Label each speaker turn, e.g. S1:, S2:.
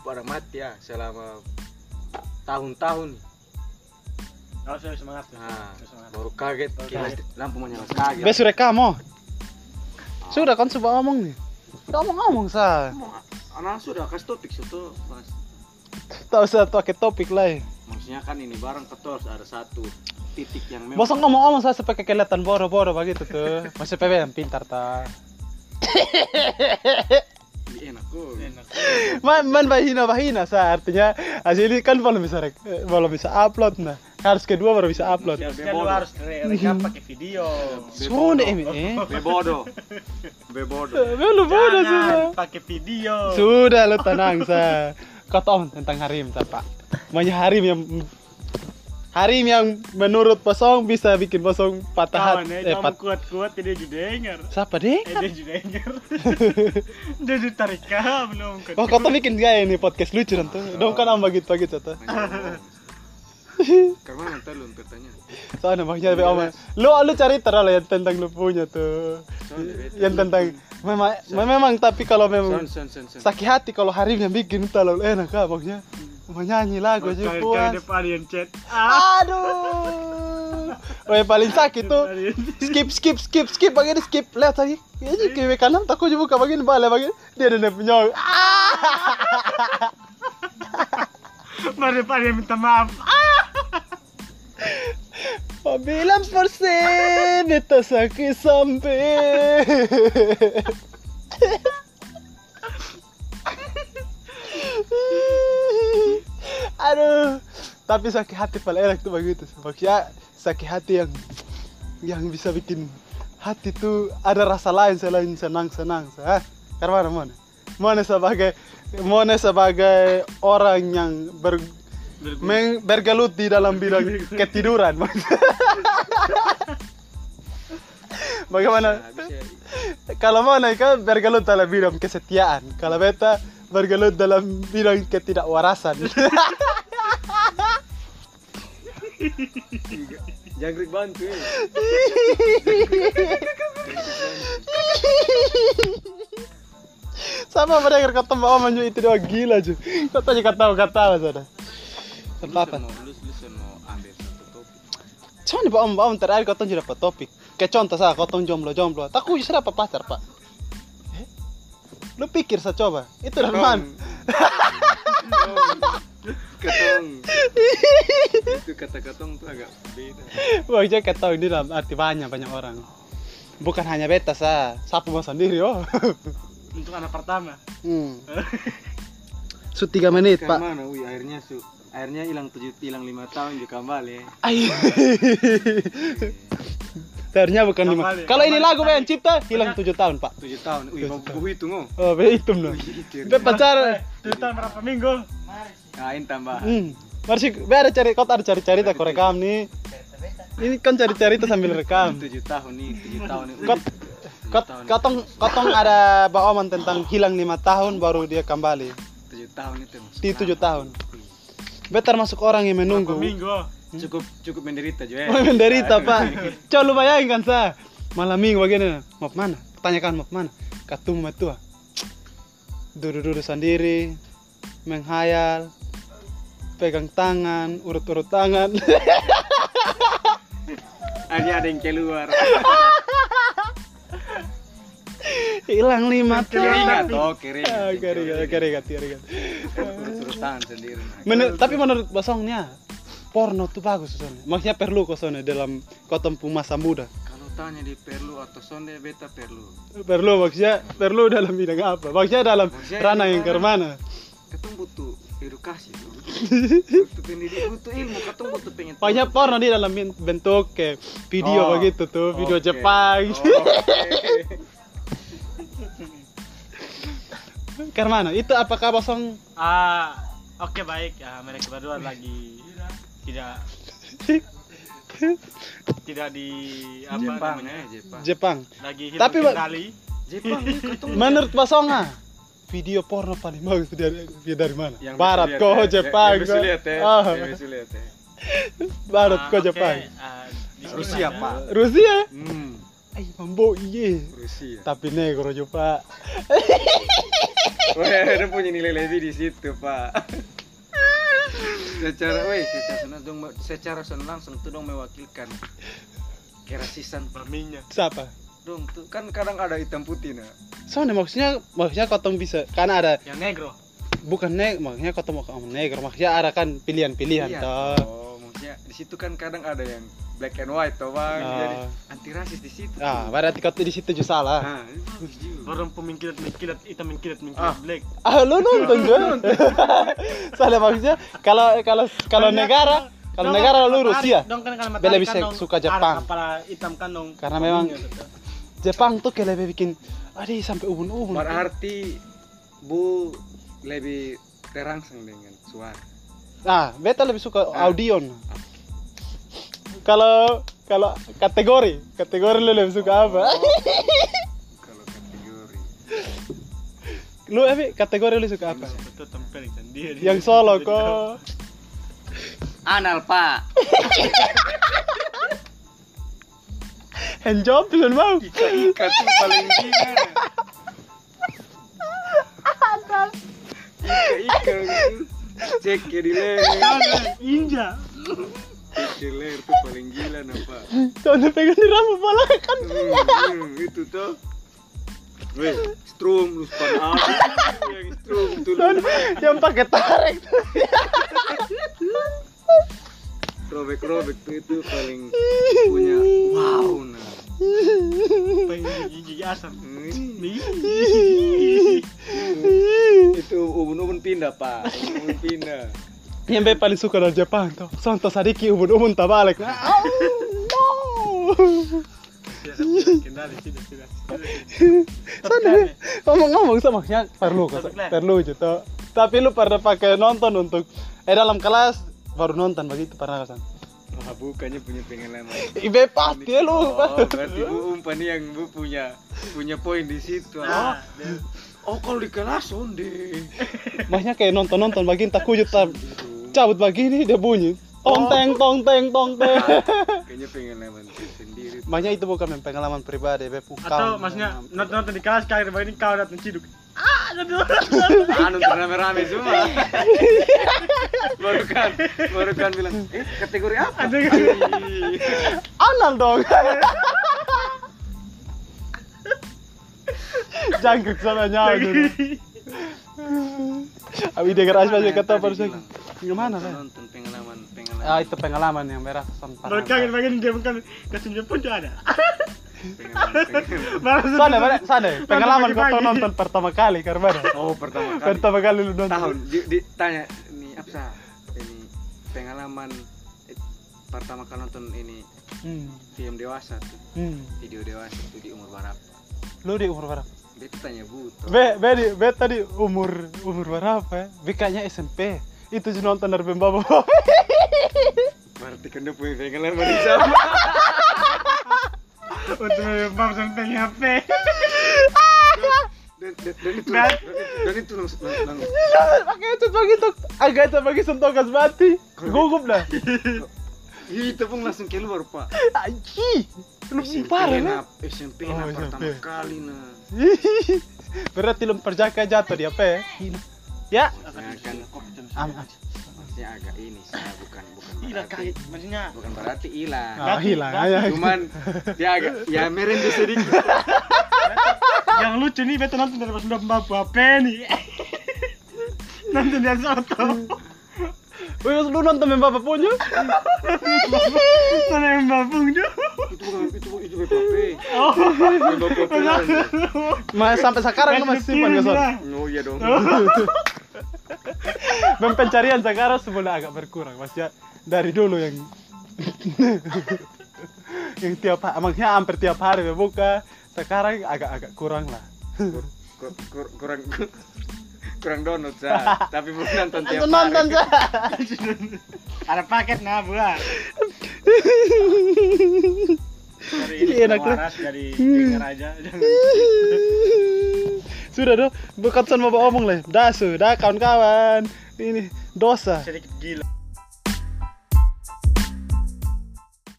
S1: pada mati ya selama tahun-tahun
S2: Oh, sudah semangat. ya.
S1: nah
S2: Sudah semangat.
S1: baru kaget
S2: Baru
S1: kilas
S2: kaget.
S1: lampu menyala kaget
S3: Bes sudah kamu. Sudah kan coba ngomong nih. Kamu ngomong sah.
S1: anak sudah kasih topik situ Mas.
S3: Tak usah pakai topik lain.
S1: maksudnya kan ini barang ketor ada satu titik yang memang
S3: Bosong ngomong-ngomong saya sampai kelihatan boro-boro begitu tuh. Masih pepe yang pintar ta.
S1: enak Oh, iya. kok
S2: Enak.
S3: Man, man bahina bahina sa artinya asli kan belum bisa rek- eh, belum bisa upload nah. Harus kedua baru bisa upload.
S1: Manusia
S2: Kan lu
S1: bodoh.
S2: harus re- rekam pakai video.
S3: Sudah ini. eh.
S1: bebodo bebodo
S3: Belum bodoh sudah.
S2: Jangan pakai video.
S3: Sudah lo tenang sa. Kau tahu tentang Harim sa pak. Maunya Harim yang Harim yang menurut Bosong bisa bikin Bosong
S2: Kawan
S3: patah hati.
S2: ya,
S3: Eh,
S2: kamu
S3: pat-
S2: kuat-kuat jadi judengar.
S3: siapa
S2: Eh,
S3: deh?
S2: dia judengar. Dia ditarik belum.
S3: Wah, Oh, kau tuh bikin gaya ini podcast lucu nanti. Dong kan ambang gitu gitu tuh.
S1: karena nanti lu bertanya
S3: Soalnya makanya be
S2: Iya.
S3: oma. Lu lu cari terus lah yang tentang lu punya tuh.
S1: Soalnya, Bet.
S3: Yang tentang memang memang tapi kalau
S1: son
S3: memang
S1: son son son
S3: sakit hati kalau Harim yang bikin itu lalu enak kan maksudnya. Mau nyanyi lagu aja
S2: Kalau
S3: puas.
S2: depan yang chat. Ah,
S3: Aduh. Oh yang paling sakit tuh skip skip skip skip bagian ini skip lihat lagi. Ya jadi kiri kanan takut juga buka bagian balik bagian dia ada yang punya. Ah.
S2: Mari depan yang minta maaf.
S3: Bilang persen itu sakit sampai. Aduh, tapi sakit hati paling enak tuh begitu. Maksudnya sakit hati yang yang bisa bikin hati tuh ada rasa lain selain senang-senang. Sa. Ah, Karena mana? Mana sebagai mana sebagai orang yang ber, Meng bergelut di dalam bidang ketiduran. Bagaimana?
S1: habis ya
S3: Kalau mau naik kan bergelut dalam bidang kesetiaan. Kalau beta bergelut dalam bidang ketidakwarasan.
S1: Jangkrik bantu ya.
S3: Sama mendengar kata Mbak Oman itu doang gila aja. Kau tanya kata kata sana.
S1: Lu
S3: Apa apa?
S1: sen mau- Lu lu sen mau ambil satu topik.
S3: Cuman Mbak Om Mbak Om terakhir kau tuh dapat topik. Kayak contoh saya kau tuh jomblo jomblo. Tak aku justru dapat pacar pak. Eh? Lu pikir saya coba. Itu dari mana?
S1: Ketong. Itu kata ketong tuh agak beda.
S3: Wah, dia kata ini dalam arti banyak banyak orang. Bukan hanya beta sa, sapu mau sendiri oh.
S2: Untuk anak pertama.
S3: hmm. Su tiga menit
S1: Kayak
S3: pak.
S1: mana? Wih, airnya su airnya hilang tujuh hilang lima tahun juga kembali. ya.
S3: Ay. Ternyata bukan lima.
S2: Kembali,
S3: Kalau ini
S2: kembali,
S3: lagu
S2: kembali.
S3: yang cipta hilang tujuh tahun pak.
S1: Tujuh tahun. Wih, bapak buku itu ngoh.
S3: Oh, be itu loh. Be pacar.
S2: Tutan Eh, berapa minggu?
S1: Kain tambah.
S3: Hmm. Marsi, be ada cari kau ada cari cerita kau rekam nih. Ini kan cari cerita sambil rekam.
S1: Tujuh tahun nih, tujuh tahun nih.
S3: Kot, kot, kotong, kotong ada baoman tentang hilang lima tahun baru dia kembali.
S1: Tujuh tahun itu. maksud
S3: di
S1: kenapa?
S3: tujuh tahun. Better masuk orang yang menunggu.
S2: Berapa minggu?
S1: Cukup cukup menderita juga. ya.
S3: Mau menderita pak. Coba lu bayangin kan sa. Malam minggu begini. Mau mana? Tanyakan mau mana? Ketemu metua. Duduk-duduk sendiri. Menghayal. Pegang tangan. Urut-urut tangan.
S1: Aja ada yang keluar.
S3: Hilang lima
S1: Keringat,
S3: tahun.
S1: oh keringat.
S3: Ah, Keringat, keringat, keringat.
S1: Terus tangan sendiri. nah.
S3: Menur- kan. tapi menurut basongnya porno tuh bagus soalnya. Maksudnya perlu kok soalnya dalam kau tempuh masa muda.
S1: Kalau tanya di perlu atau sonde beta perlu.
S3: perlu maksudnya perlu dalam bidang apa maksudnya dalam
S1: Maksudnya
S3: ranah
S1: gimana?
S3: yang kermana
S1: Ketemu butuh edukasi tuh. butuh pendidikan, butuh ilmu, ketemu butuh pengen. tahu.
S3: pokoknya porno di dalam bin- bentuk kayak video
S1: Oh,
S3: begitu tuh video
S1: oke. Oh.
S3: Jepang
S1: Oke.
S3: kermana itu apakah kosong
S2: Ah, oke baik. Ah, mereka berdua lagi tidak tidak di apa
S1: Jepang
S2: namanya?
S1: ya, Jepang.
S3: Jepang
S2: Lagi hidup
S3: Tapi,
S2: Tapi,
S3: Pak-
S2: kendali.
S1: Jepang ini ketemu.
S3: menurut basonga video porno paling bagus dari dari mana
S1: Yang
S3: barat
S1: bisa
S3: kok
S1: lihat ya,
S3: Jepang
S1: Yang bisa
S3: kok
S1: lihat ya.
S3: Ah,
S1: Yang bisa lihat ya.
S3: barat
S2: Ah,
S3: kok
S2: oke,
S3: Jepang
S2: ah, di
S1: Rusia,
S2: mana?
S1: Pak.
S3: Rusia
S1: Hmm,
S3: ay mambo Eh, iye
S1: Rusia.
S3: tapi negro juga
S1: Weh, ada punya nilai lebih di situ, Pak. secara weh, secara senang dong secara senang langsung tuh dong mewakilkan kerasisan
S2: maminya
S3: Siapa?
S1: dong tuh kan kadang ada hitam putih nah
S3: Soalnya maksudnya maksudnya kotong bisa karena ada
S2: yang negro
S3: bukan neg maksudnya kotong mau kamu negro maksudnya ada kan pilihan-pilihan toh.
S1: oh maksudnya di situ kan kadang ada yang black and white toh bang
S3: Ah.
S1: jadi anti rasis di situ
S3: Ah,
S1: tuh.
S3: berarti kau di situ juga salah.
S1: ah ini bagus juga.
S2: orang pemingkilat mingkilat hitam mingkilat
S1: Ah.
S2: mingkilat black
S3: Ah, lu nonton gue. Soalnya maksudnya kalau kalau kalau
S2: Banyak.
S3: negara kalau
S2: Dong,
S3: negara iya.
S2: matahari-
S3: lu Rusia.
S2: dong kan kalau
S3: Bela
S2: matahari
S3: bisa
S2: kan dong
S3: suka
S2: arah
S3: Jepang.
S2: kepala hitam kan dong
S3: Karena memang-
S2: peminya, tetap.
S3: Jepang tuh kayak lebih bikin aduh sampai ubun-ubun.
S1: berarti bu lebih terangsang dengan suara
S3: Nah, beta lebih suka
S1: Ah.
S3: audion. Kalau kalau kategori, kategori lu lebih suka apa?
S1: kalau kategori
S3: Lu Evi, kategori lu suka apa?
S2: Betul, tempel ikan dia kan. dia.
S3: Yang solo kok.
S1: anal pak
S3: Hand job pisan mau.
S1: Ika Ika tuh paling gila. Ika Ika gitu. Cek ya di leher.
S2: inja
S1: Cek di leher tuh paling gila nampak.
S3: Tuh pegang di rambut bola kan.
S1: Hmm, hmm, itu tuh. Weh, strum lu span up. Yang strum tuh lu
S3: Tuh yang pakai tarik.
S1: robek-robek tuh itu paling punya wow nah.
S2: gigi asam
S1: Hmm,
S2: Nih.
S1: itu ubun-ubun pindah pak ubun pindah
S3: yang be paling suka dari Jepang tuh. Sonto Sadiki ubun-ubun tabalik. Ah, no.
S2: Sudah, sudah, kendali, sudah, sudah, sudah.
S3: Sana ngomong-ngomong sama maksudnya perlu kok,
S2: Tapi keren.
S3: perlu gitu. Tapi lu pernah pakai nonton untuk eh dalam kelas baru nonton begitu pernah kan?
S1: Wah, bukannya punya pengalaman
S3: Ibe pasti lu.
S1: Oh, berarti Bu Umpan yang Bu punya punya poin di situ.
S2: Nah,
S1: Ah. Oh, kalau di kelas onde.
S3: Maksudnya kayak nonton-nonton begini tak kujut tak cabut begini dia bunyi. Tong teng tong teng tong teng.
S1: Kayaknya pengen leman sendiri.
S3: Maksudnya itu bukan main pengalaman pribadi, Ibe bukan.
S2: atau maksudnya nonton nonton di kelas kali ini kau datang ciduk ah nonton
S1: Ah, nonton rame-rame semua. baru kan, baru kan bilang, eh kategori apa? Iya.
S2: ada
S3: anal dong. Jangkrik sama nyawa dulu. Abi dia keras aja kata baru saya. Gimana lah?
S1: Nonton pengalaman, pengalaman.
S3: Ah itu pengalaman yang merah sampai.
S2: mereka yang pengen game kan kasusnya pun juga ada
S1: Pengalaman, pengalaman.
S2: Baru-
S3: Sana, mana? Sana. Pengalaman kau
S2: pagi-pagi.
S3: nonton pertama kali, Karbara.
S1: Oh, pertama kali.
S3: Pertama kali lu
S1: tahun
S3: nonton.
S1: di, ditanya ini apa ini pengalaman eh, pertama kali nonton ini
S3: Hmm.
S1: film dewasa tuh
S3: Hmm.
S1: video dewasa tuh di umur berapa
S3: Lu di umur berapa?
S1: dia tuh tanya buto
S3: Be, be, di- be tadi umur umur berapa ya? Be kayaknya SMP. Itu juga nonton dari Bamba
S1: berarti kan dia punya pengalaman yang sama
S2: untuk memang sampai HP
S1: dan, dan, dan itu
S2: Nah.
S1: dan- dan itu langsung lang- lang-
S3: Iya, Pakai itu begitu. Agak itu bagi sentokas mati. Gugup dah.
S1: Ih, itu pun langsung keluar pak
S3: Aji. Lu
S1: SMP
S3: parah
S1: na,
S3: lah.
S1: SMP
S3: Oh,
S1: na
S3: SMP.
S1: pertama kali nah
S3: Berarti lu perjaka jatuh di apa ya? Ya.
S1: maksudnya kan
S3: Aman.
S1: maksudnya agak ini sih nah, bukan bukan
S2: gila
S1: berarti
S2: kaget maksudnya
S1: bukan berarti hilang
S3: Ah, hilang aja.
S1: cuman dia agak ya merendih sedikit
S2: yang lucu nih betul nonton dari pas udah mampu HP nih nonton dari soto
S3: Wih, lu nonton main Bapak punya?
S2: nonton yang mabung tuh
S1: itu bukan itu itu BPP
S2: oh
S1: Yang BPP lain.
S3: Mas sampai sekarang lu masih simpan kesan.
S1: oh iya dong
S3: Memang pencarian sekarang sebenarnya agak berkurang maksudnya dari dulu yang yang tiap hari, maksudnya hampir tiap hari berbuka sekarang agak-agak kurang lah
S1: Kur- kur- kurang kurang download sah tapi bukan nonton tiap hari gitu.
S2: ada paket nah buat dari
S3: Iya, enak tuh. Hmm.
S2: waras dari denger aja jangan
S3: sudah dong bukan mau omong lah dah sudah kawan-kawan ini dosa
S2: sedikit gila